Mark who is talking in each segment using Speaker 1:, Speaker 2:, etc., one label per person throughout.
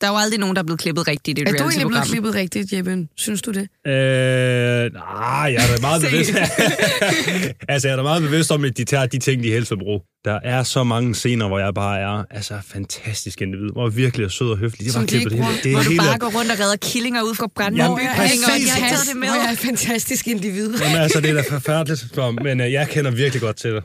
Speaker 1: Der er jo aldrig nogen, der er blevet klippet rigtigt i et
Speaker 2: Er du egentlig blevet
Speaker 1: reality-program.
Speaker 2: klippet rigtigt, Jeppe? Synes du det?
Speaker 3: Øh, nej, jeg er da meget bevidst. altså, jeg er da meget bevidst om, at de tager de ting, de helst vil bruge. Der er så mange scener, hvor jeg bare er altså, fantastisk individ, hvor jeg virkelig er sød og høflig. Det er
Speaker 2: Som
Speaker 3: bare
Speaker 2: de ikke
Speaker 3: klippet det hele.
Speaker 2: bruger.
Speaker 3: Det
Speaker 1: Hvor
Speaker 3: er
Speaker 1: du
Speaker 3: hele...
Speaker 1: bare går rundt og redder killinger ud fra
Speaker 3: Jamen,
Speaker 1: brandmål.
Speaker 3: det er
Speaker 1: Jeg
Speaker 3: præcis.
Speaker 1: har taget det med.
Speaker 2: Hvor jeg er et fantastisk individ.
Speaker 3: Jamen, altså, det er da forfærdeligt, Nå, men øh, jeg kender virkelig godt til det.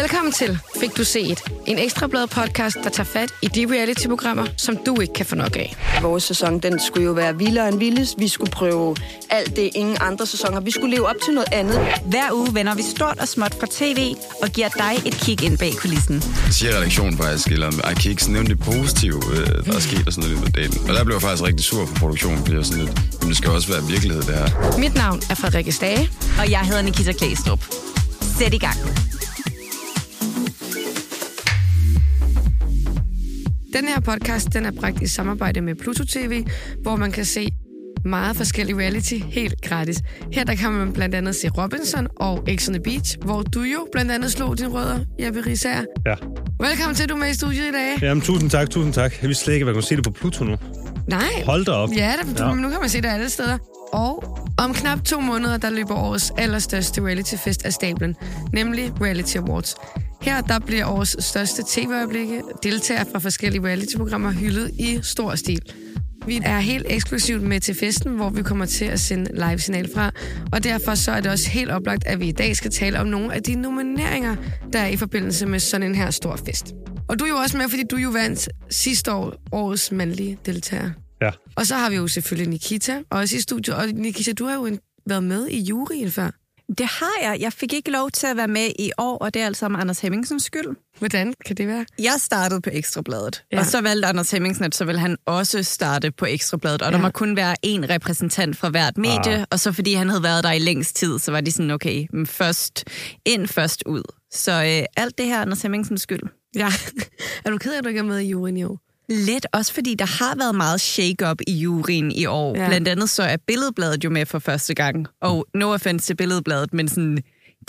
Speaker 2: Velkommen til Fik du set? En ekstrablad podcast, der tager fat i de reality-programmer, som du ikke kan få nok af.
Speaker 4: Vores sæson, den skulle jo være vildere end vildest. Vi skulle prøve alt det, ingen andre sæsoner. Vi skulle leve op til noget andet.
Speaker 1: Hver uge vender vi stort og småt fra tv og giver dig et kig ind bag kulissen.
Speaker 5: siger redaktionen faktisk, eller ej, kan I ikke sådan nævne det positive, øh, der er sket og sådan noget i dagen. Og der blev jeg faktisk rigtig sur på produktionen, fordi jeg var sådan lidt, men det skal også være virkelighed, det her.
Speaker 2: Mit navn er Frederikke Stage.
Speaker 1: Og jeg hedder Nikita Klæstrup. Sæt i gang.
Speaker 2: Den her podcast, den er bragt i samarbejde med Pluto TV, hvor man kan se meget forskellig reality helt gratis. Her der kan man blandt andet se Robinson og Ex on the Beach, hvor du jo blandt andet slog dine rødder, Jeppe Risager.
Speaker 3: Ja.
Speaker 2: Velkommen til, du er med i studiet i dag.
Speaker 3: Jamen, tusind tak, tusind tak. Jeg vidste slet ikke, at man kunne se det på Pluto nu.
Speaker 2: Nej.
Speaker 3: Hold da op.
Speaker 2: Ja, der, du,
Speaker 3: Ja.
Speaker 2: ja. nu kan man se det alle steder. Og om knap to måneder, der løber årets allerstørste reality-fest af stablen, nemlig Reality Awards. Her der bliver årets største tv-øjeblikke deltagere fra forskellige reality-programmer hyldet i stor stil. Vi er helt eksklusivt med til festen, hvor vi kommer til at sende live-signal fra, og derfor så er det også helt oplagt, at vi i dag skal tale om nogle af de nomineringer, der er i forbindelse med sådan en her stor fest. Og du er jo også med, fordi du jo vandt sidste år årets mandlige deltager.
Speaker 3: Ja.
Speaker 2: Og så har vi jo selvfølgelig Nikita, også i studiet. Og Nikita, du har jo en, været med i juryen før.
Speaker 1: Det har jeg. Jeg fik ikke lov til at være med i år, og det er altså om Anders Hemmingsens skyld.
Speaker 2: Hvordan kan det være?
Speaker 1: Jeg startede på Ekstrabladet,
Speaker 2: Ja.
Speaker 1: ja. og så valgte Anders Hemmingsen, at så ville han også starte på Ekstrabladet. Og ja. der
Speaker 2: Ja.
Speaker 1: må kun være én repræsentant fra hvert medie, ah. og så fordi han havde været der i længst tid, så var de sådan, okay, men først ind, først ud. Så øh, alt det her er Anders Hemmingsens skyld.
Speaker 2: Ja. er du ked af, at du ikke er med i juryen i år?
Speaker 1: Lidt, også fordi der har været meget shake-up i juryen i år.
Speaker 2: Ja.
Speaker 1: Ja. Blandt andet så er Billedbladet jo med for første gang. Og no offense til Billedbladet, men sådan,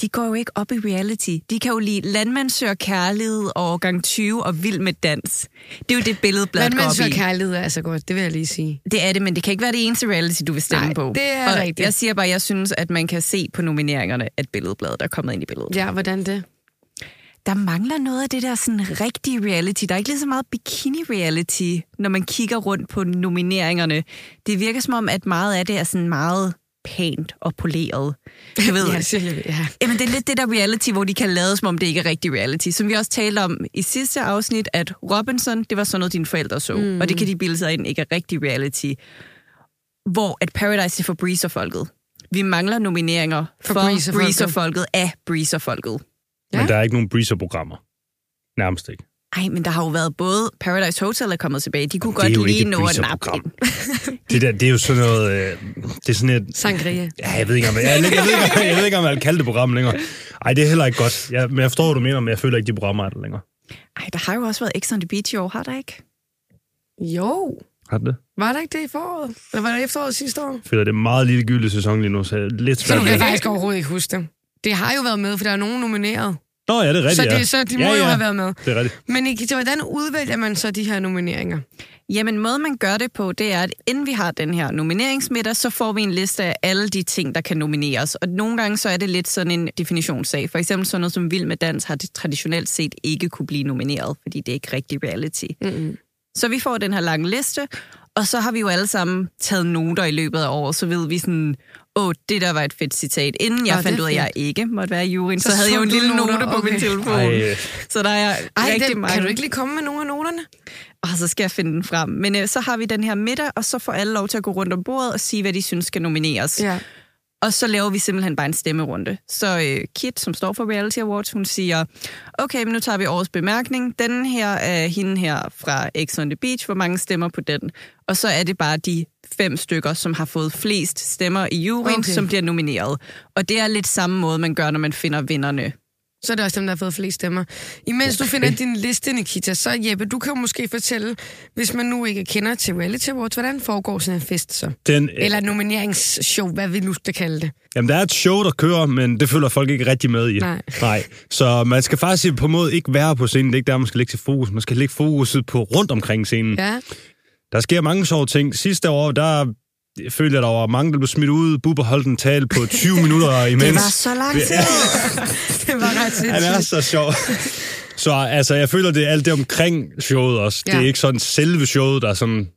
Speaker 1: de går jo ikke op i reality. De kan jo lide Landmand søger kærlighed og Årgang 20 og Vild med dans. Det er jo det, Billedbladet går
Speaker 2: Landmænd
Speaker 1: op
Speaker 2: søger
Speaker 1: i.
Speaker 2: kærlighed er altså godt, det vil jeg lige sige.
Speaker 1: Det er det, men det kan ikke være det eneste reality, du vil stemme
Speaker 2: Nej,
Speaker 1: på.
Speaker 2: det er
Speaker 1: og
Speaker 2: rigtigt.
Speaker 1: Jeg siger bare, at jeg synes, at man kan se på nomineringerne, at Billedbladet er kommet ind i billedet.
Speaker 2: Ja, hvordan det?
Speaker 1: Der mangler noget af det der sådan rigtige reality. Der er ikke lige så meget bikini-reality, når man kigger rundt på nomineringerne. Det virker som om, at meget af det er sådan meget pænt og poleret. Du ved,
Speaker 2: Ja, siger jeg, ja.
Speaker 1: Jamen, det er lidt det der reality, hvor de kan lade, som om det ikke er rigtig reality. Som vi også talte om i sidste afsnit, at Robinson, det var sådan noget, dine forældre så. Mm. Og det kan de bilde sig ind, ikke er rigtig reality. Hvor at Paradise det er for Breezer-folket. Vi mangler nomineringer for,
Speaker 2: For
Speaker 1: for
Speaker 2: Breezer-folket.
Speaker 1: Breezer-folket af Breezer-folket.
Speaker 2: Ja.
Speaker 3: Men der er ikke nogen Breezer-programmer. Nærmest ikke.
Speaker 1: Ej, men der har jo været både Paradise Hotel er kommet tilbage. De kunne
Speaker 3: Det er jo
Speaker 1: godt lige
Speaker 3: ikke et
Speaker 1: nå at nappe
Speaker 3: Breezer-program.
Speaker 1: ind.
Speaker 3: Det, der, det er jo sådan noget... Øh, det er sådan et,
Speaker 2: Sangria.
Speaker 3: Ja, jeg ved ikke, om jeg, jeg, ved, jeg, ved, ikke, jeg ved ikke, om jeg vil kalde det program længere. Ej, det er heller ikke godt. Jeg, men jeg forstår, hvad du mener, men jeg føler ikke, de programmer er der længere.
Speaker 1: Ej, der har jo også været X on the Beach i år, har der ikke?
Speaker 2: Jo,
Speaker 3: Har det?
Speaker 2: var der ikke det i foråret? Eller var det efteråret sidste år?
Speaker 3: Jeg føler, det er en meget lille gyldig sæson lige nu, så jeg er lidt
Speaker 2: Så
Speaker 3: svært
Speaker 2: du kan
Speaker 3: ved.
Speaker 2: jeg faktisk overhovedet ikke huske det. Det har jo været med, for der er nogen nomineret.
Speaker 3: Nå, ja, det er rigtigt,
Speaker 2: Så,
Speaker 3: ja.
Speaker 2: det, så de må
Speaker 3: ja,
Speaker 2: jo
Speaker 3: ja.
Speaker 2: have været med.
Speaker 3: Det er rigtigt.
Speaker 2: Men Nikita, hvordan udvælger man så de her nomineringer?
Speaker 1: Jamen, måden man gør det på, det er, at inden vi har den her nomineringsmiddag, så får vi en liste af alle de ting, der kan nomineres. Og nogle gange så er det lidt sådan en definitionssag. For eksempel sådan noget som Vild med Dans har det traditionelt set ikke kunne blive nomineret, fordi det er ikke rigtig reality.
Speaker 2: Mm-hmm.
Speaker 1: Så vi får den her lange liste, og så har vi jo alle sammen taget noter i løbet af året, så ved vi sådan, åh, det der var et fedt citat. Inden jeg
Speaker 2: Nå, det
Speaker 1: fandt
Speaker 2: er
Speaker 1: ud af, at jeg ikke måtte være i juryen, så,
Speaker 2: Så
Speaker 1: så havde
Speaker 2: tog
Speaker 1: jeg jo en
Speaker 2: du
Speaker 1: lille
Speaker 2: noter,
Speaker 1: note på
Speaker 2: okay.
Speaker 1: min telefon.
Speaker 3: Ej, øh,
Speaker 1: Så der er
Speaker 2: Ej,
Speaker 1: rigtig
Speaker 2: den,
Speaker 1: mange
Speaker 2: kan du ikke lige komme med nogle af noterne?
Speaker 1: og så skal jeg finde den frem. Men øh, så har vi den her middag, og så får alle lov til at gå rundt om bordet og sige, hvad de synes skal nomineres.
Speaker 2: Ja.
Speaker 1: Og så laver vi simpelthen bare en stemmerunde. Så øh, Kit, som står for Reality Awards, hun siger, okay, men nu tager vi årets bemærkning. Den her er hende her fra X on the Beach. Hvor mange stemmer på den? Og så er det bare de fem stykker, som har fået flest stemmer i juryen,
Speaker 2: Okay.
Speaker 1: okay. som bliver nomineret. Og det er lidt samme måde, man gør, når man finder vinderne
Speaker 2: så er det også dem, der har fået flest stemmer. Imens okay. du finder din liste, Nikita, så Jeppe, du kan jo måske fortælle, hvis man nu ikke kender til Reality Awards, hvordan foregår sådan en fest så?
Speaker 3: Den, øh,
Speaker 2: Eller nomineringsshow, hvad vi nu skal kalde det.
Speaker 3: Jamen, der er et show, der kører, men det følger folk ikke rigtig med i.
Speaker 2: Nej.
Speaker 3: Nej. Så man skal faktisk på en måde ikke være på scenen. Det er ikke der, man skal lægge sit fokus. Man skal lægge fokuset på rundt omkring scenen.
Speaker 2: Ja,
Speaker 3: Der sker mange sjove ting. Sidste år, der følte jeg, der var mange, der blev smidt ud. Bubber holdt en tale på 20 minutter imens.
Speaker 4: Det var så lang tid.
Speaker 2: det var ret
Speaker 3: Han er
Speaker 2: sindssygt.
Speaker 3: så sjov. Så altså, jeg føler, det er alt det omkring showet også. Ja.
Speaker 2: Ja.
Speaker 3: Det er ikke sådan selve showet, der er sådan...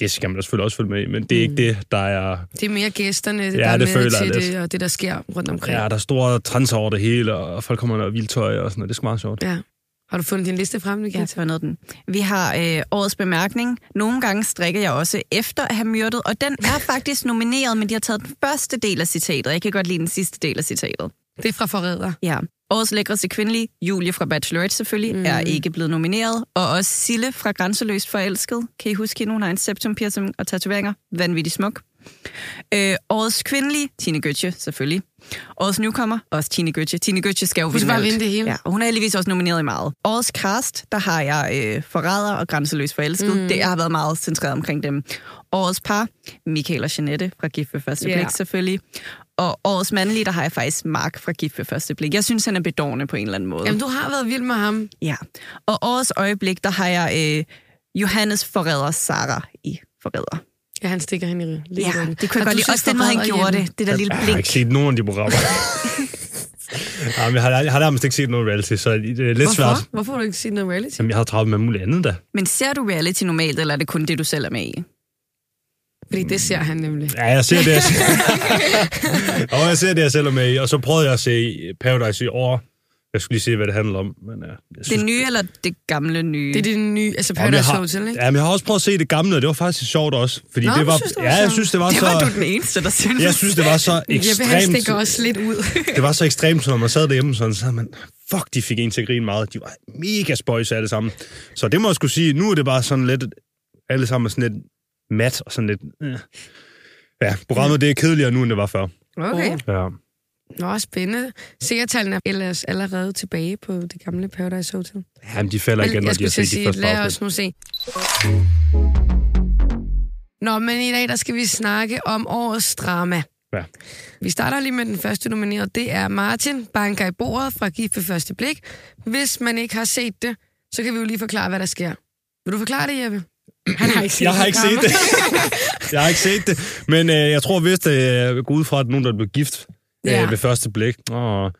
Speaker 3: Det skal man da selvfølgelig også følge med i, men det
Speaker 1: Mm.
Speaker 3: er ikke det, der er...
Speaker 2: Det er mere gæsterne, ja,
Speaker 3: det
Speaker 2: der er med
Speaker 3: føler jeg
Speaker 2: til
Speaker 3: lidt.
Speaker 2: det, og det, der sker rundt omkring.
Speaker 3: Ja, der er store trans over det hele, og folk kommer og vildtøj og sådan noget. Det er sgu meget sjovt.
Speaker 2: ja. Har du fundet din liste frem, Nikita?
Speaker 1: Jeg har fundet den. Vi har øh, årets bemærkning. Nogle gange strikker jeg også efter at have myrdet, og den er faktisk nomineret, men de har taget den første del af citatet. Jeg kan godt lide den sidste del af citatet.
Speaker 2: Det er fra Forræder.
Speaker 1: Ja. Årets lækreste kvindelige, Julie fra Bachelorette selvfølgelig, mm. er ikke blevet nomineret. Og også Sille fra Grænseløst Forelsket. Kan I huske hende? Hun har en septum piercing og tatoveringer. Vanvittig smuk. Øh, årets kvindelige, Tine Gøtje, selvfølgelig. Årets nykommer, også Tine Gøtje. Tine Gøtje skal jo
Speaker 2: Hun skal bare
Speaker 1: alt.
Speaker 2: vinde det hele.
Speaker 1: Ja, og hun er heldigvis også nomineret i meget. Årets cast, der har jeg øh, Forræder og Grænseløs Forelsket. Mm. Det har været meget centreret omkring dem. Årets par, Michael og Jeanette fra Gift ved Første
Speaker 2: Ja.
Speaker 1: Blik selvfølgelig. Og årets mandlige, der har jeg faktisk Mark fra Gift ved Første Blik. Jeg synes, han er bedårende på en eller anden måde.
Speaker 2: Jamen, du har været vild med ham.
Speaker 1: Ja. Og årets øjeblik, der har jeg øh, Johannes Forræder Sara i Forræder.
Speaker 2: Ja, han stikker hende i ryggen.
Speaker 1: Ja, det kunne jeg godt lide. Også den måde, han gjorde det. Det der lille
Speaker 3: Jeg har
Speaker 1: blink.
Speaker 3: ikke set nogen af de programmer. Jamen, jeg, har, jeg har nærmest ikke set noget reality, så det er lidt svært.
Speaker 2: Hvorfor? Hvorfor har du ikke set noget reality?
Speaker 3: Jamen, jeg har travlt med muligt andet da.
Speaker 1: Men ser du reality normalt, eller er det kun det, du selv er med i?
Speaker 2: Fordi det ser han nemlig.
Speaker 3: Ja, jeg ser det, jeg selv. og jeg ser det, jeg selv er med i. Og så prøvede jeg at se Paradise i år. Jeg skulle lige se, hvad det handler om. Men, uh, jeg synes,
Speaker 1: Det nye eller det gamle nye?
Speaker 2: Det er det nye, altså
Speaker 3: Jamen, jeg
Speaker 2: Paradise
Speaker 3: har,
Speaker 2: Hotel, ikke?
Speaker 3: Jamen, jeg har også prøvet at se det gamle, og det var faktisk sjovt også. Fordi
Speaker 2: Nå,
Speaker 3: det
Speaker 2: du
Speaker 3: var,
Speaker 2: synes, det var
Speaker 3: ja, jeg
Speaker 2: sjovt.
Speaker 3: synes, det var
Speaker 1: Det var du
Speaker 3: så...
Speaker 1: den eneste, der synes.
Speaker 3: Jeg synes, det var så
Speaker 2: Jeppe, han stikker
Speaker 3: ekstremt,
Speaker 2: også lidt ud.
Speaker 3: det var så ekstremt, når man sad derhjemme sådan, så man, fuck, de fik en til at grine meget. De var mega spøjse alle sammen. Så det må jeg skulle sige, nu er det bare sådan lidt, alle sammen er sådan lidt mat og sådan lidt... Øh. Ja, programmet det er kedeligere nu, end det var før.
Speaker 2: Okay.
Speaker 3: Ja.
Speaker 2: Nå, spændende. Seertallene er ellers allerede tilbage på det gamle Paradise Hotel.
Speaker 3: Jamen, de falder igen, når
Speaker 2: jeg
Speaker 3: de har
Speaker 2: skulle til at
Speaker 3: set de
Speaker 2: sige,
Speaker 3: første
Speaker 2: lad os
Speaker 3: afsnit.
Speaker 2: nu se. Nå, men i dag der skal vi snakke om årets drama.
Speaker 3: Ja.
Speaker 2: Vi starter lige med den første nomineret. Det er Martin Banker i bordet fra Gift ved første blik. Hvis man ikke har set det, så kan vi jo lige forklare, hvad der sker. Vil du forklare det, Jeppe? Han har ikke set
Speaker 3: Jeg har ikke set det. jeg har ikke set det. Men øh, jeg tror vist, at jeg går ud fra, at nogen, der er blevet gift øh,
Speaker 2: Ja.
Speaker 3: ved første blik. Og,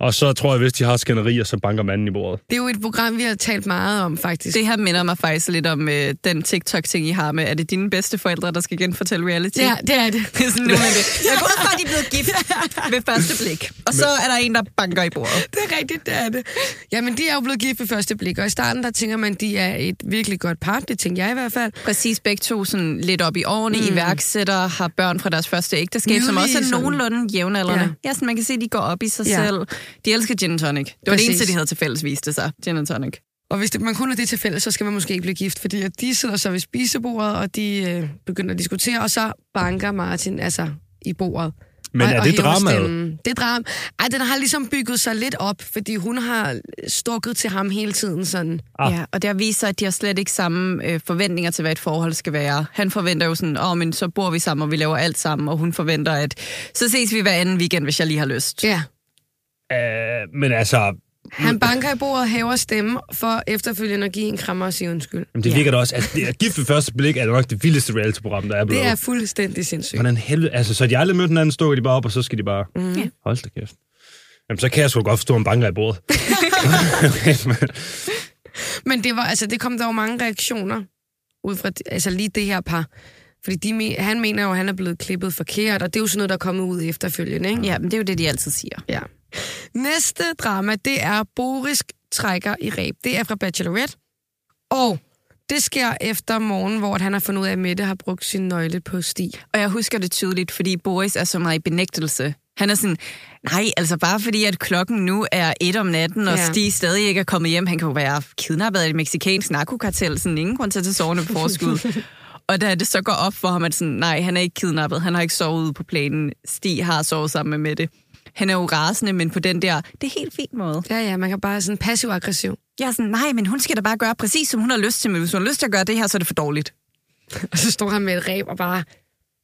Speaker 3: og så tror jeg vist, de har skænderier, så banker manden i bordet.
Speaker 2: Det er jo et program, vi har talt meget om, faktisk.
Speaker 1: Det her minder mig faktisk lidt om øh, den TikTok-ting, I har med, er det dine bedste forældre, der skal genfortælle reality?
Speaker 2: Ja, det er det.
Speaker 1: Det er sådan, nu er det. Jeg går ud fra, at de er blevet gift ved første blik. Og så er der en, der banker i bordet.
Speaker 2: Det er rigtigt, det er det. Jamen, de er jo blevet gift ved første blik, og i starten der tænker man, de er et virkelig godt par. Det tænker jeg i hvert fald.
Speaker 1: Præcis, begge to sådan lidt op i årene, mm. iværksættere, har børn fra deres første ægteskab, som
Speaker 2: Nydelige,
Speaker 1: også er
Speaker 2: sådan.
Speaker 1: nogenlunde jævnaldrende.
Speaker 2: Ja.
Speaker 1: Ja. ja, sådan man kan se, at de går op i sig
Speaker 2: Ja.
Speaker 1: ja. selv. De elsker gin and tonic. Det var Præcis.
Speaker 2: Præcis.
Speaker 1: det eneste, de havde til fælles, viste det sig. Gin and tonic.
Speaker 2: Og hvis det, man kun er det til fælles, så skal man måske ikke blive gift, fordi at de sidder så ved spisebordet, og de øh, begynder at diskutere, og så banker Martin altså i bordet.
Speaker 3: Men
Speaker 2: og,
Speaker 3: er
Speaker 2: og
Speaker 3: det
Speaker 2: hæver
Speaker 3: dramaet?
Speaker 2: stemmen. Det er drama. Ej, den har ligesom bygget sig lidt op, fordi hun har stukket til ham hele tiden sådan.
Speaker 3: Ah.
Speaker 1: Ah. Ja, og det har vist sig, at de har slet ikke samme øh, forventninger til, hvad et forhold skal være. Han forventer jo sådan, åh, oh, men så bor vi sammen, og vi laver alt sammen, og hun forventer, at så ses vi hver anden weekend, hvis jeg lige har lyst.
Speaker 2: Ja.
Speaker 3: Øh, men altså,
Speaker 2: Han banker i bordet, hæver stemme for efterfølgende at give en krammer og sige undskyld.
Speaker 3: jamen, det virker da også, at det er gift ved første blik er nok det vildeste reality-program, der er blevet.
Speaker 2: Det er fuldstændig sindssygt.
Speaker 3: Hvordan helvede, altså, så har de aldrig mødt hinanden, stukker de bare op, og så skal de bare...
Speaker 1: Ja.
Speaker 3: Mm. Hold da kæft. Jamen, så kan jeg sgu godt forstå, at man banker i bordet.
Speaker 2: Men det var, altså, det kom der jo mange reaktioner ud fra altså, lige det her par. Fordi de, me- han mener jo, at han er blevet klippet forkert, og det er jo sådan noget, der er kommet ud efterfølgende. Ikke?
Speaker 1: Ja, men det er jo det, de altid siger.
Speaker 2: Ja. Næste drama, det er Boris trækker i ræb. Det er fra Bachelorette. Og det sker efter morgen, hvor han har fundet ud af, at Mette har brugt sin nøgle på sti.
Speaker 1: Og jeg husker det tydeligt, fordi Boris er så meget i benægtelse. Han er sådan, nej, altså bare fordi, at klokken nu er et om natten, og
Speaker 2: Ja.
Speaker 1: ja. Stig stadig ikke er kommet hjem. Han kan jo være kidnappet af et meksikansk narkokartel, sådan ingen grund til at tage sovende på forskud. og da det så går op for ham, at sådan, nej, han er ikke kidnappet, han har ikke sovet ude på planen. Stig har sovet sammen med Mette. Han er jo rasende, men på den der, det er helt fint måde.
Speaker 2: Ja, ja, man kan bare sådan passiv-aggressiv.
Speaker 1: Jeg er sådan, nej, men hun skal da bare gøre præcis, som hun har lyst til, men hvis hun har lyst til at gøre det her, så er det for dårligt.
Speaker 2: Og så står han med et ræb og bare...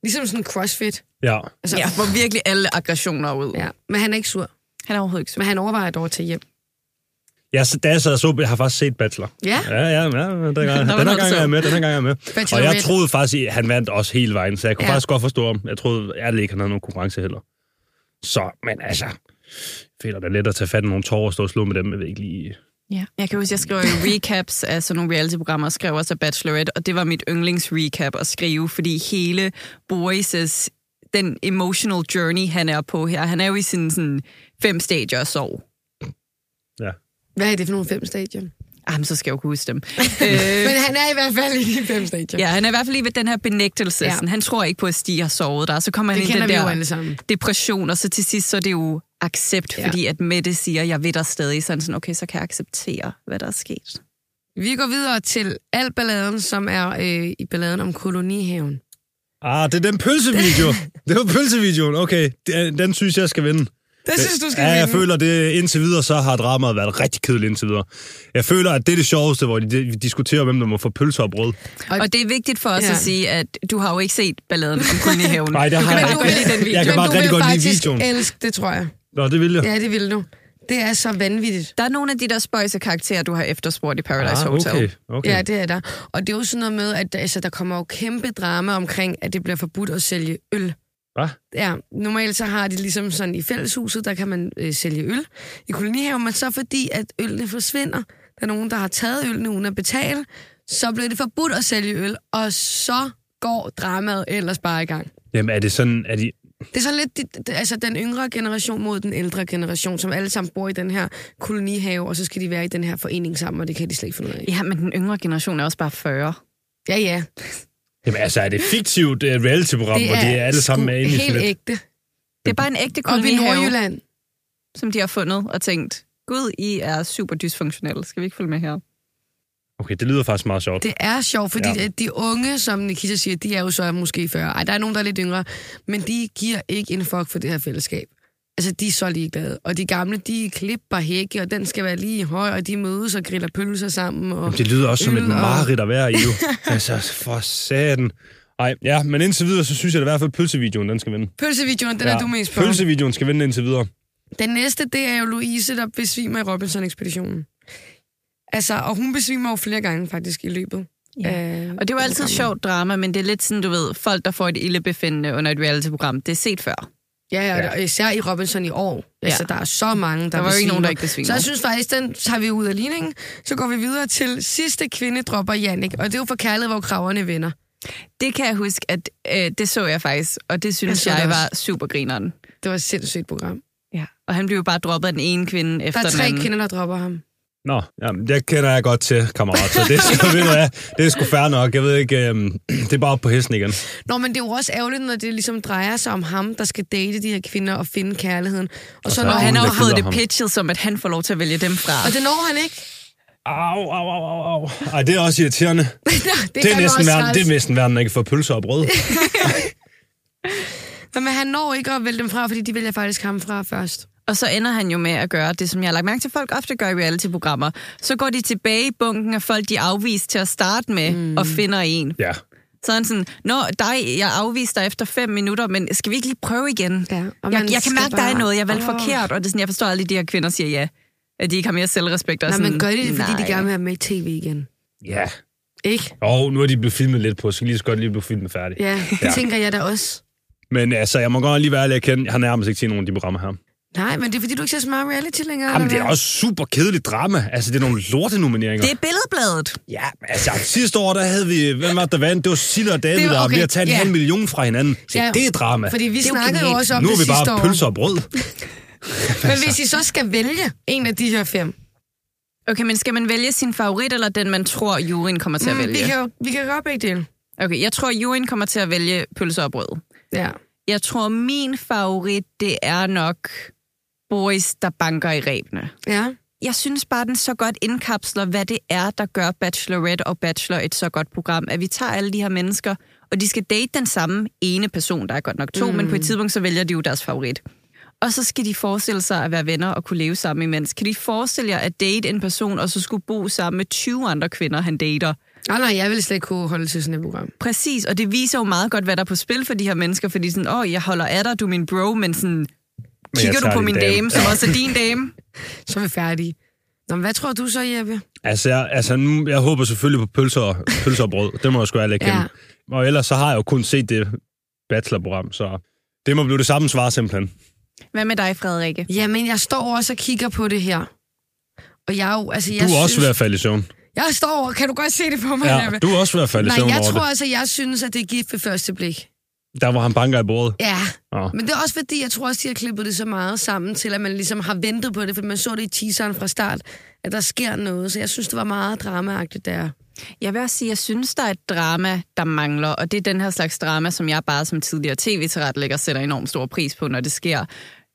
Speaker 2: Ligesom sådan en crossfit.
Speaker 3: Ja.
Speaker 2: Altså,
Speaker 1: Så ja. får virkelig alle aggressioner ud. Ja.
Speaker 2: ja. Men han er ikke sur.
Speaker 1: Han er overhovedet ikke sur.
Speaker 2: Men han overvejer dog at tage hjem.
Speaker 3: Jeg, da jeg sad og så, jeg har faktisk set Bachelor.
Speaker 2: Ja.
Speaker 3: Ja, ja, ja den, gang, den, her
Speaker 1: noget, du
Speaker 3: gang
Speaker 1: så.
Speaker 3: er jeg med, den her gang er jeg med. Og jeg
Speaker 2: Bachelorette.
Speaker 3: troede faktisk, at han vandt også hele vejen, så jeg kunne
Speaker 2: Ja.
Speaker 3: ja. faktisk godt forstå ham. Jeg troede ærligt ikke, han havde nogen konkurrence heller. Så, men altså, fedt det er let at tage fat i nogle tårer og stå og slå med dem, jeg ved ikke lige...
Speaker 1: Ja. Jeg kan huske, jeg skrev jo recaps af sådan nogle reality-programmer, og skrev også af Bachelorette, og det var mit yndlings-recap at skrive, fordi hele Boris' den emotional journey, han er på her, han er jo i sine sådan, fem stadier af sorg.
Speaker 3: Ja.
Speaker 2: Hvad er det for nogle fem stadier?
Speaker 1: Ah, men så skal jeg jo kunne huske dem. øh,
Speaker 2: Men han er i hvert fald i de fem stadier.
Speaker 1: ja, han er i hvert fald lige ved den her benægtelse.
Speaker 2: Ja.
Speaker 1: Ja. Sådan, han tror ikke på, at Stig har sovet der, og så kommer han
Speaker 2: Det
Speaker 1: ind i
Speaker 2: kender
Speaker 1: den
Speaker 2: vi jo
Speaker 1: der
Speaker 2: alle sammen.
Speaker 1: depression, og så til sidst, så er det jo accept,
Speaker 2: Ja.
Speaker 1: ja. fordi at Mette siger, jeg ved dig stadig, sådan sådan, okay, så kan jeg acceptere, hvad der er sket.
Speaker 2: Vi går videre til al balladen, som er øh, i balladen om kolonihaven.
Speaker 3: Ah, det er den pølsevideo. det var pølsevideoen. Okay, den, den synes jeg skal vinde.
Speaker 2: Det synes du skal
Speaker 3: ja, jeg
Speaker 2: vinde.
Speaker 3: føler, det indtil videre, så har dramaet været rigtig kedeligt indtil videre. Jeg føler, at det er det sjoveste, hvor de de diskuterer, hvem der må få pølser og brød.
Speaker 2: Og-
Speaker 1: Og, og det er vigtigt for os
Speaker 2: Ja.
Speaker 1: ja. at sige, at du har jo ikke set balladen om kolonihaven.
Speaker 3: Nej, det har
Speaker 1: jeg
Speaker 3: jeg
Speaker 1: ikke. lide den video.
Speaker 3: Jeg kan
Speaker 2: Men
Speaker 3: bare
Speaker 2: du vil
Speaker 3: rigtig godt lide
Speaker 2: faktisk
Speaker 3: videoen.
Speaker 2: elske det, tror jeg.
Speaker 3: Nå, det vil jeg.
Speaker 2: Ja, det vil du. Det er så vanvittigt.
Speaker 1: Der er nogle af de der spøjse karakterer, du har efterspurgt i Paradise
Speaker 3: ah,
Speaker 1: Hotel.
Speaker 3: okay,
Speaker 2: Okay.
Speaker 3: okay.
Speaker 2: Ja, det er der. Og det er jo sådan noget med, at der- altså, der kommer jo kæmpe drama omkring, at det bliver forbudt at sælge øl.
Speaker 3: Hva?
Speaker 2: Ja, normalt så har de ligesom sådan i fælleshuset, der kan man øh, sælge øl i kolonihaven, men så fordi, at ølene forsvinder, der er nogen, der har taget ølene uden at betale, så bliver det forbudt at sælge øl, og så går dramaet ellers bare i gang.
Speaker 3: Jamen, er det sådan, at de...
Speaker 2: Det er sådan lidt det, det, altså den yngre generation mod den ældre generation, som alle sammen bor i den her kolonihave, og så skal de være i den her forening sammen, og det kan de slet ikke finde ud af.
Speaker 1: Ja, men den yngre generation er også bare 40.
Speaker 2: Ja, ja.
Speaker 3: Jamen, altså, er det fiktivt uh, reality-program, hvor de er alle sammen
Speaker 2: sgu
Speaker 3: med inde i
Speaker 2: helt
Speaker 3: sådan et...
Speaker 2: ægte.
Speaker 1: Det er bare en ægte
Speaker 2: Oppe i
Speaker 1: kolonihave,
Speaker 2: Nordjylland.
Speaker 1: som de har fundet og tænkt, Gud, I er super dysfunktionelle. Skal vi ikke følge med her?
Speaker 3: Okay, det lyder faktisk meget sjovt.
Speaker 2: Det er sjovt, fordi
Speaker 3: Ja.
Speaker 2: ja. de unge, som Nikita siger, de er jo så måske 40. Ej, der er nogen, der er lidt yngre, men de giver ikke en fuck for det her fællesskab. Altså, de er så ligeglade. Og de gamle, de klipper hække, og den skal være lige høj, og de mødes og griller pølser sammen. Og...
Speaker 3: Jamen, det lyder også som
Speaker 2: Øl
Speaker 3: et
Speaker 2: og-
Speaker 3: mareridt at være i, jo. altså, for satan. Ej, ja, men indtil videre, så synes jeg da i hvert fald, at pølsevideoen, den skal vinde.
Speaker 2: Pølsevideoen, den
Speaker 3: ja.
Speaker 2: er du mest på.
Speaker 3: Pølsevideoen skal vinde indtil videre.
Speaker 2: Den næste, det er jo Louise, der besvimer i Robinson-ekspeditionen. Altså, og hun besvimer jo flere gange faktisk i løbet. Ja. Øh,
Speaker 1: Og det er jo altid sjovt drama, men det er lidt sådan, du ved, folk, der får et ildebefindende under et reality-program, det er set før.
Speaker 2: Ja, ja, og især i Robinson i år. Altså, der er så mange, der
Speaker 1: Der var jo ikke nogen,
Speaker 2: besvimer.
Speaker 1: der ikke besvimer.
Speaker 2: Så jeg synes faktisk, den tager vi ud af ligningen. Så går vi videre til sidste kvinde dropper Jannik. Og det er jo for kærlighed, hvor kraverne vender.
Speaker 1: Det kan jeg huske, at øh, det så jeg faktisk, og det synes
Speaker 2: så
Speaker 1: jeg,
Speaker 2: det
Speaker 1: jeg
Speaker 2: også.
Speaker 1: var super grineren.
Speaker 2: Det var et sindssygt program.
Speaker 1: Ja. Og han blev jo bare droppet af den ene kvinde
Speaker 2: Der
Speaker 1: efter
Speaker 2: er
Speaker 1: den
Speaker 2: tre
Speaker 1: anden.
Speaker 2: kvinder, der dropper ham.
Speaker 3: Nå, jamen, det kender jeg godt til, kammerat, så det, så ved du, hvad, det er sgu fair nok. Jeg ved ikke, øhm, det er bare op på hesten igen.
Speaker 2: Nå, men det er jo også ærgerligt, når det ligesom drejer sig om ham, der skal date de her kvinder og finde kærligheden. Og, og så
Speaker 3: så
Speaker 2: når
Speaker 3: er
Speaker 1: Og
Speaker 2: han
Speaker 1: han har jo
Speaker 3: hun der
Speaker 1: fået
Speaker 3: gider
Speaker 1: det
Speaker 3: ham.
Speaker 1: pitchet som, at han får lov til at vælge dem fra.
Speaker 2: Og det når han ikke.
Speaker 3: Au, au, au, au, au. Ej, det er også irriterende. Det
Speaker 2: det,
Speaker 3: er,
Speaker 2: fandme
Speaker 3: næsten
Speaker 2: også
Speaker 3: værre,
Speaker 2: træls.
Speaker 3: det er næsten værre, når ikke får pølser og brød.
Speaker 2: Nå, Men han når ikke at vælge dem fra, fordi de vælger faktisk ham fra først.
Speaker 1: Og så ender han jo med at gøre det, som jeg har lagt mærke til, at folk ofte gør i reality-programmer. Så går de tilbage i bunken af folk, de er afvist til at starte med, mm. og finder en.
Speaker 3: Ja.
Speaker 1: Så er han sådan, Nå, dig, jeg afviste dig efter fem minutter, men skal vi ikke lige prøve igen?
Speaker 2: Ja, og man
Speaker 1: jeg, jeg
Speaker 2: skal
Speaker 1: kan mærke
Speaker 2: bare-
Speaker 1: dig noget, jeg valgte
Speaker 2: Åh.
Speaker 1: oh. forkert, og det er sådan, jeg forstår aldrig, at de her kvinder siger ja. At de ikke har mere selvrespekt. Og
Speaker 2: Nej,
Speaker 1: sådan,
Speaker 2: men gør de det, fordi
Speaker 1: Altså, nej.
Speaker 2: de gerne vil have med i tv igen?
Speaker 3: Ja.
Speaker 2: Ikke?
Speaker 3: Og nu er de blevet filmet lidt på, så kan lige så godt lige blive filmet færdig.
Speaker 2: Ja, det ja. tænker jeg da også.
Speaker 3: Men altså, jeg må godt lige være ærlig at kende, jeg har nærmest ikke set nogen af de programmer her.
Speaker 2: Nej, men det er fordi, du ikke ser så meget reality længere.
Speaker 3: Jamen, det er
Speaker 2: eller
Speaker 3: også super kedeligt drama. Altså, det er nogle lorte nomineringer.
Speaker 1: Det er billedbladet.
Speaker 3: Ja, men altså, sidste år, der havde vi, hvem var det, der vandt? Det var Silla og David,
Speaker 2: Det var-
Speaker 3: der var
Speaker 2: okay,
Speaker 3: ved at tage en
Speaker 2: ja.
Speaker 3: halv million fra hinanden. Se,
Speaker 2: Ja,
Speaker 3: det er drama.
Speaker 2: hvad? Fordi vi
Speaker 1: Det er jo
Speaker 2: snakkede jo
Speaker 1: genialt.
Speaker 2: også om
Speaker 3: nu er
Speaker 2: det
Speaker 3: vi bare
Speaker 2: sidste
Speaker 3: pølser og brød.
Speaker 2: år. Men hvis I så skal vælge en af de her fem,
Speaker 1: Okay, men skal man vælge sin favorit, eller den, man tror, juryen kommer til at
Speaker 2: mm,
Speaker 1: vælge?
Speaker 2: vi, kan jo, vi kan gøre begge dele.
Speaker 1: Okay, jeg tror, juryen kommer til at vælge pølser og brød.
Speaker 2: Ja.
Speaker 1: Jeg tror, min favorit, det er nok Boris, der banker i ræbene.
Speaker 2: ja.
Speaker 1: Jeg synes bare, den så godt indkapsler, hvad det er, der gør Bachelorette og Bachelor et så godt program. At vi tager alle de her mennesker, og de skal date den samme ene person. Der er godt nok to, mm. men på et tidspunkt, så vælger de jo deres favorit. Og så skal de forestille sig at være venner og kunne leve sammen imens. Kan de forestille jer at date en person, og så skulle bo sammen med 20 andre kvinder, han dater?
Speaker 2: Nej, nej, jeg ville slet ikke kunne holde til sådan et program.
Speaker 1: Præcis, og det viser jo meget godt, hvad der er på spil for de her mennesker, fordi sådan, åh, oh, jeg holder af dig, du er min bro, men sådan,
Speaker 3: jeg
Speaker 1: kigger
Speaker 3: tager
Speaker 1: du på
Speaker 3: din
Speaker 1: min
Speaker 3: dame.
Speaker 1: dame, som også er din dame?
Speaker 2: Så er vi færdige. Nå, men hvad tror du så, Jeppe?
Speaker 3: Altså, jeg, altså nu, jeg håber selvfølgelig på pølser, og- pølser og brød. Det må jeg sgu ærligt
Speaker 2: Ja.
Speaker 3: kende. Ja. Og ellers så har jeg jo kun set det bachelorprogram, så det må blive det samme svar simpelthen.
Speaker 1: Hvad med dig, Frederikke?
Speaker 2: Jamen, jeg står også og kigger på det her. Og jeg er jo, altså, jeg
Speaker 3: Du er
Speaker 2: synes,
Speaker 3: også ved at falde i søvn.
Speaker 2: Jeg står over, kan du godt se det på mig,
Speaker 3: Ja,
Speaker 2: Jeppe?
Speaker 3: du er også ved at falde i
Speaker 2: Nej,
Speaker 3: søvn
Speaker 2: jeg
Speaker 3: over
Speaker 2: tror altså, jeg synes, at det er gift ved første blik.
Speaker 3: det. Der hvor han banker i bordet.
Speaker 2: Ja,
Speaker 3: Ja.
Speaker 2: men det er også fordi, jeg tror også, de har klippet det så meget sammen til, at man ligesom har ventet på det, for man så det i teaseren fra start, at der sker noget, så jeg synes, det var meget dramaagtigt der.
Speaker 1: Jeg vil også sige, at jeg synes, der er et drama, der mangler, og det er den her slags drama, som jeg bare som tidligere tv-tilrettelægger sætter enormt stor pris på, når det sker.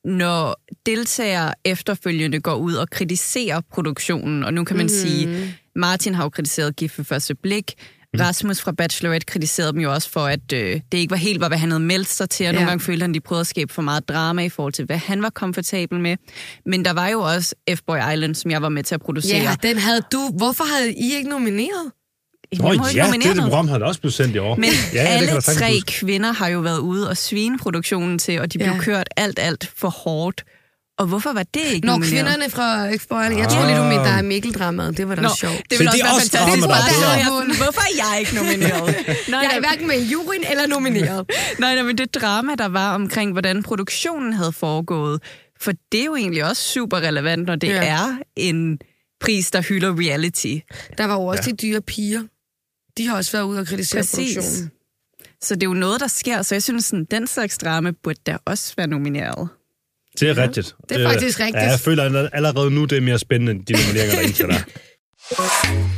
Speaker 1: Når deltagere efterfølgende går ud og kritiserer produktionen, og nu kan man
Speaker 3: Mhm.
Speaker 1: mm. sige, Martin har jo kritiseret Gift ved første blik,
Speaker 3: Mhm.
Speaker 1: Rasmus fra Bachelorette kritiserede dem jo også for, at øh, det ikke var helt, hvad han havde meldt sig til, og nogle
Speaker 2: Ja.
Speaker 1: gange følte han, de prøvede at skabe for meget drama i forhold til, hvad han var komfortabel med. Men der var jo også F-Boy Island, som jeg var med til at producere.
Speaker 2: Ja, den havde du... Hvorfor havde I ikke nomineret?
Speaker 1: Jeg
Speaker 3: Nå
Speaker 1: må ikke
Speaker 3: ja,
Speaker 1: nominere
Speaker 3: det er det
Speaker 1: ham.
Speaker 3: program, han også blev sendt i år.
Speaker 1: Men
Speaker 3: ja,
Speaker 1: ja,
Speaker 3: ja, det
Speaker 1: alle
Speaker 3: kan jeg
Speaker 1: det
Speaker 3: sagtens
Speaker 1: tre
Speaker 3: huske.
Speaker 1: kvinder har jo været ude og svine produktionen til, og de blev
Speaker 2: Ja.
Speaker 1: ja. kørt alt, alt for hårdt. Og hvorfor var det ikke
Speaker 2: Når
Speaker 1: nomineret?
Speaker 2: kvinderne fra Eksporten... Jeg tror lige, du mente, der er Mikkel dramaet. Det var da
Speaker 1: Nå,
Speaker 2: sjovt.
Speaker 1: det
Speaker 3: Se,
Speaker 1: ville også
Speaker 3: det er
Speaker 1: være
Speaker 3: også
Speaker 1: fantastisk.
Speaker 3: drama, der er
Speaker 1: bare at
Speaker 3: bedre.
Speaker 1: høre, jeg sådan, hvorfor er jeg ikke nomineret? nej,
Speaker 2: Jeg
Speaker 1: nej,
Speaker 2: er hverken med i juryen eller nomineret.
Speaker 1: nej, nej, men det drama, der var omkring, hvordan produktionen havde foregået, for det er jo egentlig også super relevant, når det
Speaker 2: Ja.
Speaker 1: ja. er en pris, der hylder reality.
Speaker 2: Der var jo også ja. de dyre piger. De har også været ude og kritisere Præcis. produktionen.
Speaker 1: Så det er jo noget, der sker, så jeg synes, sådan, den slags drama burde da også være nomineret.
Speaker 3: Det er rigtigt. Øh,
Speaker 2: Det er faktisk rigtigt.
Speaker 3: Ja, jeg føler at allerede nu, det er mere spændende, end de nomineringer, der er indtil der.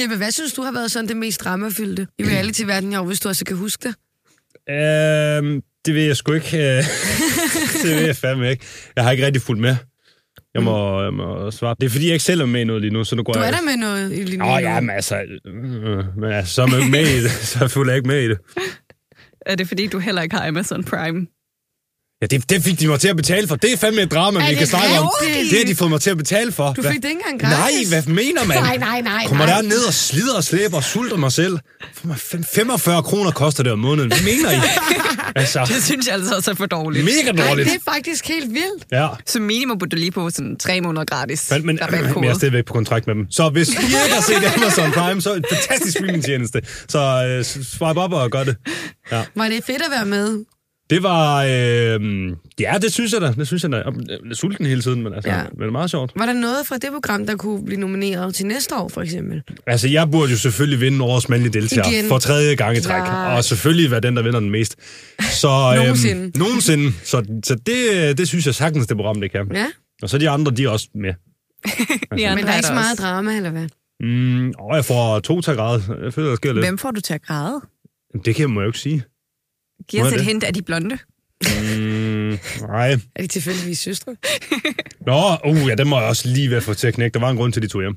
Speaker 2: Jeppe, hvad synes du har været sådan det mest dramafyldte i reality-verdenen i år, hvis du også kan huske det?
Speaker 3: Øhm, det ved jeg sgu ikke. øh. det ved jeg fandme ikke. Jeg har ikke rigtig fulgt med. Jeg må, jeg må svare. Det er fordi, jeg ikke selv er med i noget lige nu, så nu går
Speaker 2: Mm. Du
Speaker 3: jeg...
Speaker 2: er der med noget i linjen.
Speaker 3: Åh, oh, ja, men altså, øh, men altså, så er man jo ikke med i det. Så følger jeg ikke med i det.
Speaker 1: Er det fordi, du heller ikke har Amazon Prime?
Speaker 3: Ja, det, det fik de mig til at betale for. Det er fandme et drama, vi
Speaker 2: det
Speaker 3: kan snakke om.
Speaker 2: rigtigt?
Speaker 3: Det har de fået mig til at betale for.
Speaker 2: Du
Speaker 3: Hvad-
Speaker 2: fik det ikke engang
Speaker 3: Nej,
Speaker 2: gratis.
Speaker 3: hvad mener man?
Speaker 2: Nej, nej, nej,
Speaker 3: Kommer
Speaker 2: nej.
Speaker 3: der ned og slider og slæber og sulter mig selv? For mig fem- 45 kroner koster det om måneden. Hvad mener I? altså,
Speaker 1: Det synes jeg altså også er for dårligt.
Speaker 3: mega
Speaker 2: Nej,
Speaker 3: dårligt.
Speaker 2: det er faktisk helt vildt.
Speaker 3: Ja.
Speaker 1: Så minimum burde du lige på sådan tre måneder gratis.
Speaker 3: Men, men, men jeg er stadigvæk på kontrakt med dem. Så hvis I ikke har set Amazon Prime, så er det en fantastisk streamingtjeneste. Så øh, swipe op og gør det. Ja.
Speaker 2: Var det fedt at være med?
Speaker 3: Det var... Øh, ja, det synes jeg da. Det synes jeg da. Jeg er sulten hele tiden, men, altså,
Speaker 2: Ja.
Speaker 3: ja. men det er meget sjovt.
Speaker 2: Var der noget fra det program, der kunne blive nomineret til næste år, for eksempel?
Speaker 3: Altså, jeg burde jo selvfølgelig vinde årets mandlige deltager
Speaker 2: Igen.
Speaker 3: Igen. for tredje gang i træk.
Speaker 2: Klart.
Speaker 3: Og selvfølgelig være den, der vinder den mest. Så,
Speaker 2: Nogensinde.
Speaker 3: Øhm, nogensinde. Så, så det, det synes jeg sagtens, det program, det kan.
Speaker 2: Ja,
Speaker 3: Og så de andre, de er også med.
Speaker 2: men der er ikke så meget drama, eller hvad?
Speaker 3: Mm, og jeg får to til at græde. Jeg føler, der sker lidt.
Speaker 1: Hvem får du til at græde?
Speaker 3: Det kan jeg, må jeg jo ikke sige.
Speaker 1: Giv
Speaker 3: Må
Speaker 1: os
Speaker 3: jeg
Speaker 1: et
Speaker 3: det?
Speaker 1: hint af de blonde.
Speaker 3: Mm, nej.
Speaker 2: Er de tilfældigvis søstre?
Speaker 3: Nå, uh, ja, den må jeg også lige være for til at knække. Der var en grund til, at de tog hjem.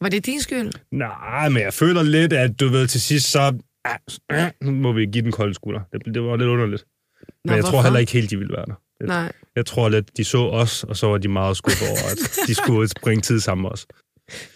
Speaker 2: Var det din skyld?
Speaker 3: Nej, men jeg føler lidt, at du ved, til sidst så... ah, ah, Nu må vi give den kolde skulder. Det, det var lidt underligt. Men jeg tror
Speaker 2: hvorfor?
Speaker 3: heller ikke helt, de ville være der.
Speaker 2: Nej.
Speaker 3: Jeg tror lidt, de så os, og så var de meget skuffet over, at de skulle bringe tid sammen med os.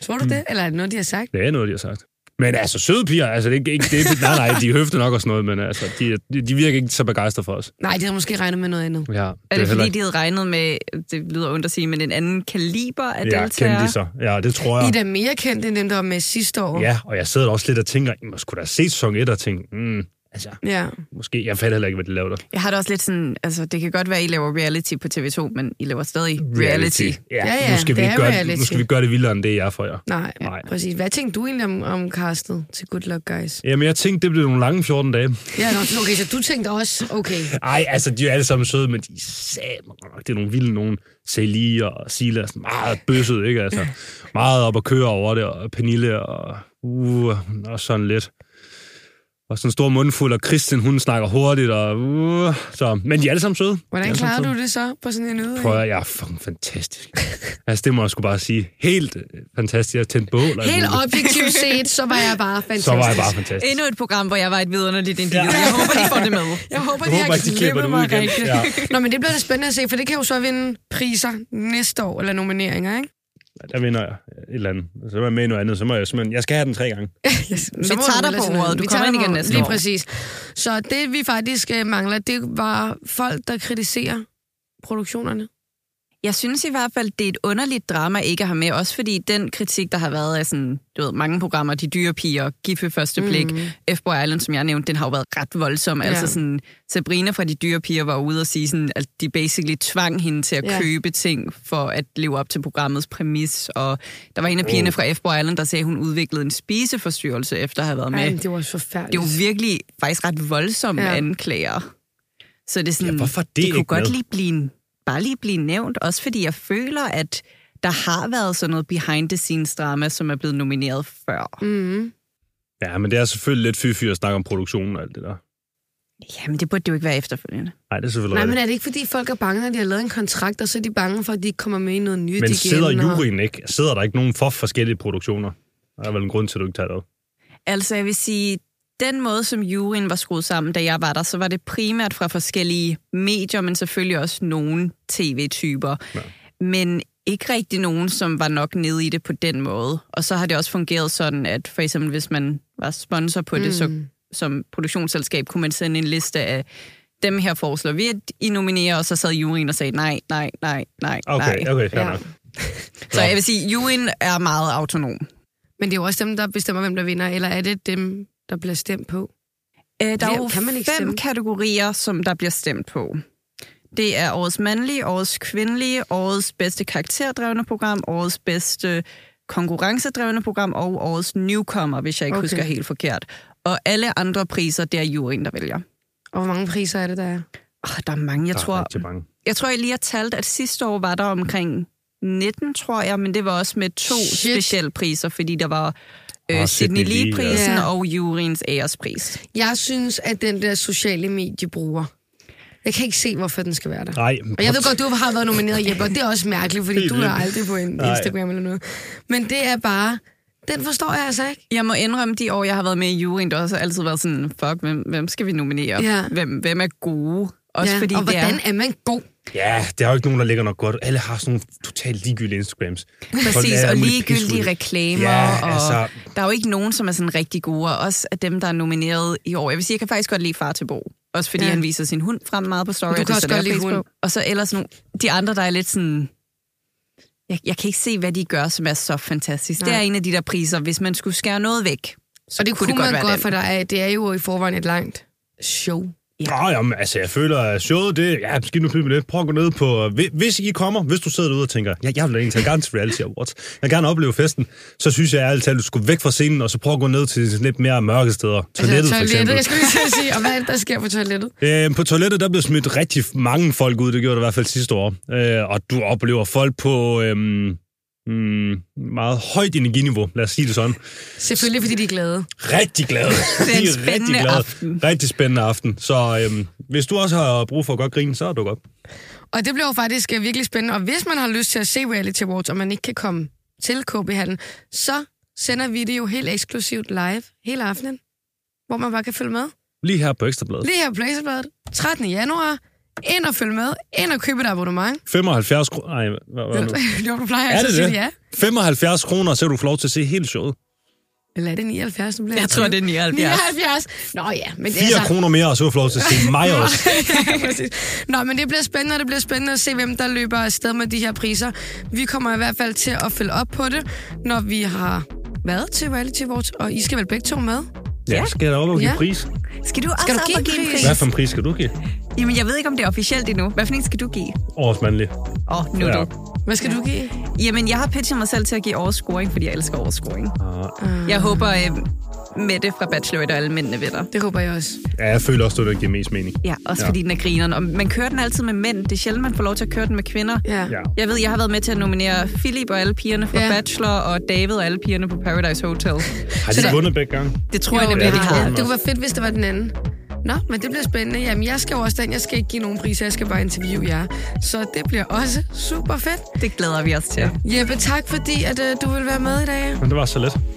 Speaker 2: Tror
Speaker 3: Mm.
Speaker 2: du det? Eller er det noget, de har sagt?
Speaker 3: Det er noget, de har sagt. Men altså, søde piger, altså, det er ikke- ikke... Det er, nej, nej, de høfte nok og sådan noget, men altså, de, de virker ikke så begejstrede for os.
Speaker 2: Nej, de havde måske regnet med noget andet.
Speaker 3: Ja, det
Speaker 1: Er det,
Speaker 3: heller
Speaker 1: fordi,
Speaker 3: ikke-
Speaker 1: de havde regnet med, det lyder ondt at sige, men en anden kaliber af
Speaker 3: Ja,
Speaker 1: deltagere?
Speaker 3: kendte de så. Ja, det tror jeg.
Speaker 2: I er da mere kendt end dem, der var med sidste år.
Speaker 3: Ja, og jeg sidder også lidt og tænker, jeg skulle da se sæson 1 og tænke, mm, altså,
Speaker 2: ja.
Speaker 3: måske, jeg fatter heller ikke, hvad de laver der.
Speaker 1: Jeg har det også lidt sådan, altså det kan godt være, I laver reality på TV2, men I laver stadig reality. reality.
Speaker 3: Ja,
Speaker 2: Ja, ja,
Speaker 3: nu skal, vi
Speaker 2: det er
Speaker 3: ikke gøre,
Speaker 2: reality.
Speaker 3: nu skal vi gøre det vildere, end det jeg er for jer.
Speaker 2: Nej, Nej,
Speaker 3: Nej.
Speaker 2: præcis. Hvad tænkte du egentlig om, om castet til Good Luck Guys?
Speaker 3: Jamen, jeg tænkte, det blev nogle lange 14 dage.
Speaker 2: Ja, nå, okay, så du tænkte også, okay.
Speaker 3: Ej, altså, de er jo alle sammen søde, men de er sammen nok. Det er nogle vilde nogen. Celie og Sila er sådan meget bøsset, ikke? Altså, meget op at køre over det, og Pernille og, uh, og sådan lidt. Og sådan en stor mundfuld, og Kristin, hun snakker hurtigt, og... Uh, så, men de er alle sammen søde. De er
Speaker 2: Hvordan
Speaker 3: alle sammen
Speaker 2: klarede
Speaker 3: søde.
Speaker 2: du det så på sådan en ude?
Speaker 3: Prøv at jeg er fucking fantastisk. altså, det må jeg sgu bare sige. Helt øh, fantastisk. Jeg tændte bål. og alt
Speaker 2: Helt
Speaker 3: muligt.
Speaker 2: objektivt set, så var jeg bare fantastisk.
Speaker 3: Så var jeg bare fantastisk.
Speaker 1: Endnu et program, hvor jeg var et vidunderligt individ. Jeg håber, de får det med.
Speaker 2: Jeg håber,
Speaker 3: Jeg
Speaker 2: de
Speaker 3: håber
Speaker 2: har
Speaker 3: ikke, de klipper
Speaker 2: klippet
Speaker 3: det
Speaker 2: mig
Speaker 3: ud igen.
Speaker 2: rigtigt.
Speaker 3: Ja.
Speaker 2: Nå, men det bliver da spændende at se, for det kan jo så vinde priser næste år, eller nomineringer, ikke?
Speaker 3: Der vinder jeg et eller andet. Så er jeg med i noget andet. Så må jeg simpelthen... Jeg skal have den tre gange.
Speaker 2: Yes,
Speaker 1: Vi tager dig på ordet. Du kommer ind igen næste
Speaker 2: lige
Speaker 1: år.
Speaker 2: præcis. Så det, vi faktisk øh, mangler, det var folk, der kritiserer produktionerne.
Speaker 1: Jeg synes i hvert fald, det er et underligt drama ikke at have med, også fordi den kritik, der har været af sådan, du ved, mange programmer, De Dyre Piger, Giffe Første Blik, mm. F-Boy Island, som jeg nævnte, den har jo været ret voldsom. Ja.
Speaker 2: Ja.
Speaker 1: Altså sådan, Sabrina fra De Dyre Piger var ude og sige, sådan, at de basically tvang hende til at
Speaker 2: Ja.
Speaker 1: ja. købe ting for at leve op til programmets præmis, og der var en af pigerne fra F-Boy Island, der sagde, at hun udviklede en spiseforstyrrelse efter at have været med.
Speaker 2: Ej, men det var også forfærdeligt.
Speaker 1: Det er jo virkelig faktisk ret voldsomme
Speaker 2: Ja.
Speaker 1: ja. anklager. Så det er sådan,
Speaker 3: Ja, hvorfor det
Speaker 1: det kunne
Speaker 3: ikke
Speaker 1: godt
Speaker 3: med?
Speaker 1: lige blive, en- bare lige blive nævnt, også fordi jeg føler, at der har været sådan noget behind-the-scenes-drama, som er blevet nomineret før. Mm.
Speaker 3: Ja, men det er selvfølgelig lidt fy-fy at snakke om produktionen og alt det der.
Speaker 1: Jamen, det burde det jo ikke være efterfølgende.
Speaker 3: Nej, det er selvfølgelig
Speaker 2: Nej, men
Speaker 3: rigtigt.
Speaker 2: er det ikke, fordi folk er bange, når de har lavet en kontrakt, og så er de bange for, at de ikke kommer med i noget nyt
Speaker 3: Men
Speaker 2: igen?
Speaker 3: sidder
Speaker 2: og-
Speaker 3: juryen ikke? Sidder der ikke nogen for forskellige produktioner? Der er vel en grund til, at du ikke tager det op.
Speaker 1: Altså, jeg vil sige, den måde, som juryen var skruet sammen, da jeg var der, så var det primært fra forskellige medier, men selvfølgelig også nogle tv-typer. Ja. Men ikke rigtig nogen, som var nok nede i det på den måde. Og så har det også fungeret sådan, at for eksempel hvis man var sponsor på det, så som produktionsselskab kunne man sende en liste af dem her foreslår vi, at I nominerer, og så sad juryen og sagde nej, nej, nej, nej,
Speaker 3: Okay,
Speaker 1: nej.
Speaker 3: okay, fair
Speaker 2: Ja.
Speaker 3: ja. nok.
Speaker 1: Så jeg vil sige, juryen er meget autonom.
Speaker 2: Men det er jo også dem, der bestemmer, hvem der vinder, eller er det dem, der bliver stemt på?
Speaker 1: Øh, der er
Speaker 2: Hvem
Speaker 1: jo
Speaker 2: kan man ikke
Speaker 1: fem
Speaker 2: stemme?
Speaker 1: kategorier, som der bliver stemt på. Det er årets mandlige, årets kvindelige, årets bedste karakterdrevne program, årets bedste konkurrencedrevne program og årets newcomer, hvis jeg ikke
Speaker 2: Okay.
Speaker 1: okay. husker helt forkert. Og alle andre priser, det er juryen, der vælger.
Speaker 2: Og hvor mange priser er det, der er?
Speaker 1: Oh, der er mange, jeg
Speaker 3: Der Ah, er
Speaker 1: tror.
Speaker 3: rigtig mange.
Speaker 1: Jeg tror, jeg lige har talt, at sidste år var der omkring 19, tror jeg, men det var også med to
Speaker 2: Shit.
Speaker 1: Shit. specielle priser, fordi der var øh,
Speaker 3: Åh,
Speaker 1: oh,
Speaker 3: Ah, Sydney
Speaker 1: Sydney
Speaker 3: Lee, ja.
Speaker 1: Lee-prisen
Speaker 2: Ja.
Speaker 1: ja. og juryens ærespris.
Speaker 2: Jeg synes, at den der sociale medie bruger. Jeg kan ikke se, hvorfor den skal være der.
Speaker 3: Nej,
Speaker 2: Og jeg ved godt, du har været nomineret, Jeppe, og det er også mærkeligt, fordi
Speaker 3: Helt
Speaker 2: du er
Speaker 3: vildt.
Speaker 2: aldrig på en
Speaker 3: Nej.
Speaker 2: Instagram eller noget. Men det er bare... Den forstår jeg altså ikke.
Speaker 1: Jeg må indrømme, de år, jeg har været med i juryen, der også har altid været sådan, fuck, hvem, hvem skal vi nominere?
Speaker 2: Ja.
Speaker 1: Hvem, hvem er gode? Også ja, fordi
Speaker 2: og
Speaker 1: det
Speaker 2: hvordan
Speaker 1: er,
Speaker 2: er man god?
Speaker 3: Ja, der er jo ikke nogen, der ligger nok godt. Alle har sådan nogle totalt ligegyldige Instagrams. Folk
Speaker 1: præcis,
Speaker 3: lader
Speaker 1: og
Speaker 3: alt muligt pis ud.
Speaker 1: ligegyldige reklamer,
Speaker 3: Ja,
Speaker 1: og
Speaker 3: altså-
Speaker 1: der er jo ikke nogen, som er sådan rigtig gode, og også af dem, der er nomineret i år. Jeg vil sige, jeg kan faktisk godt lide Far til Bo. Også fordi
Speaker 2: Ja.
Speaker 1: ja. han viser sin hund frem meget på story.
Speaker 2: Du
Speaker 1: og
Speaker 2: kan
Speaker 1: det
Speaker 2: også
Speaker 1: sætter
Speaker 2: godt
Speaker 1: jeg
Speaker 2: lide
Speaker 1: pris på.
Speaker 2: hund.
Speaker 1: Og så ellers nogle, de andre, der er lidt sådan... Jeg, jeg kan ikke se, hvad de gør, som er så fantastisk. Nej. Det
Speaker 2: Nej.
Speaker 1: er en af de der priser, hvis man skulle skære noget væk, så
Speaker 2: Og det kunne,
Speaker 1: det godt
Speaker 2: man
Speaker 1: være
Speaker 2: godt,
Speaker 1: den.
Speaker 2: for der er, det er jo i forvejen et langt show.
Speaker 3: Nå, jamen, altså, jeg føler, at showet, det... Ja, skidt nu pyt med det. Prøv at gå ned på... Hvis- Hvis I kommer, hvis du sidder derude og tænker, ja, jeg vil da egentlig tage gerne til reality awards, jeg vil gerne opleve festen, så synes jeg ærligt talt, du skulle væk fra scenen, og så prøv at gå ned til sådan lidt mere mørke steder. Toilettet, altså, for eksempel.
Speaker 2: Jeg skulle lige til at sige, og hvad er det, der sker på toilettet?
Speaker 3: Øh, på toilettet, der blev smidt rigtig mange folk ud. Det gjorde det i hvert fald sidste år. Øh, og du oplever folk på øh, mm, meget højt energiniveau, lad os sige det sådan.
Speaker 2: Selvfølgelig, fordi de er glade.
Speaker 3: Rigtig glade. Det
Speaker 1: en spændende aften.
Speaker 3: Rigtig spændende aften. Så øh, hvis du også har brug for at godt grine, så duk op.
Speaker 2: Og det bliver jo faktisk øh, virkelig spændende. Og hvis man har lyst til at se Reality Awards, og man ikke kan komme til kb Hallen, så sender vi det jo helt eksklusivt live hele aftenen, hvor man bare kan følge med.
Speaker 3: Lige her på Ekstrabladet.
Speaker 2: Lige her på Blazerbladet, 13. januar. Ind og følg med. Ind og købe et abonnement.
Speaker 3: 75 kroner. Nej, hvad, hvad er det nu?
Speaker 2: jo, du plejer
Speaker 3: Er
Speaker 2: altid
Speaker 3: det
Speaker 2: at sige
Speaker 3: det?
Speaker 2: Altså, ja.
Speaker 3: 75 kroner, så kan du få lov til at se hele showet.
Speaker 2: Eller er det 79? Nu bliver
Speaker 1: Jeg tror, det er 79.
Speaker 2: 79. Nå ja, men det
Speaker 3: 4
Speaker 2: er altså-
Speaker 3: kroner mere, og så kan du få lov til at se mig også.
Speaker 2: ja, præcis. Nå, men det bliver spændende, og det bliver spændende at se, hvem der løber afsted med de her priser. Vi kommer i hvert fald til at følge op på det, når vi har været til Reality Awards, og I skal vel begge to med?
Speaker 3: Ja, skal jeg da op og give
Speaker 2: Ja.
Speaker 3: pris?
Speaker 1: Skal du også
Speaker 2: Skal du
Speaker 1: op
Speaker 2: give
Speaker 1: og
Speaker 2: en
Speaker 1: give en
Speaker 2: pris?
Speaker 1: pris?
Speaker 3: Hvad for en pris skal du give?
Speaker 1: Jamen, jeg ved ikke, om det er officielt endnu. Hvad for en skal du give?
Speaker 3: Årets mandlige.
Speaker 1: Åh, oh, nu
Speaker 3: Ja.
Speaker 1: ja. du.
Speaker 2: Hvad skal ja. du give?
Speaker 1: Jamen, jeg har pitchet mig selv til at give årets scoring, fordi jeg elsker årets scoring.
Speaker 3: Ah,
Speaker 1: Jeg håber, øh, Mette fra Bachelorette og alle mændene ved dig.
Speaker 2: Det håber jeg også.
Speaker 3: Ja, jeg føler også, at det giver mest mening.
Speaker 1: Ja, også
Speaker 3: Ja.
Speaker 1: ja. fordi den er grineren. Og man kører den altid med mænd. Det er sjældent, man får lov til at køre den med kvinder.
Speaker 2: Ja.
Speaker 3: Ja.
Speaker 1: Jeg ved, jeg har været med til at nominere Philip og alle pigerne fra
Speaker 2: Ja.
Speaker 1: ja. Bachelor, og David og alle pigerne på Paradise Hotel.
Speaker 3: Har de vundet begge gange?
Speaker 1: Det tror jeg
Speaker 2: Jo,
Speaker 1: nemlig,
Speaker 2: det
Speaker 1: de
Speaker 2: har jeg.
Speaker 1: har.
Speaker 2: Det kunne være fedt, hvis det var den anden. Nå, men det bliver spændende. Jamen, jeg skal jo også den. Jeg skal ikke give nogen priser. Jeg skal bare interviewe jer. Så det bliver også super fedt.
Speaker 1: Det glæder vi os til.
Speaker 2: Jeppe, tak fordi at, øh, du vil være med i dag.
Speaker 3: Men det var så let.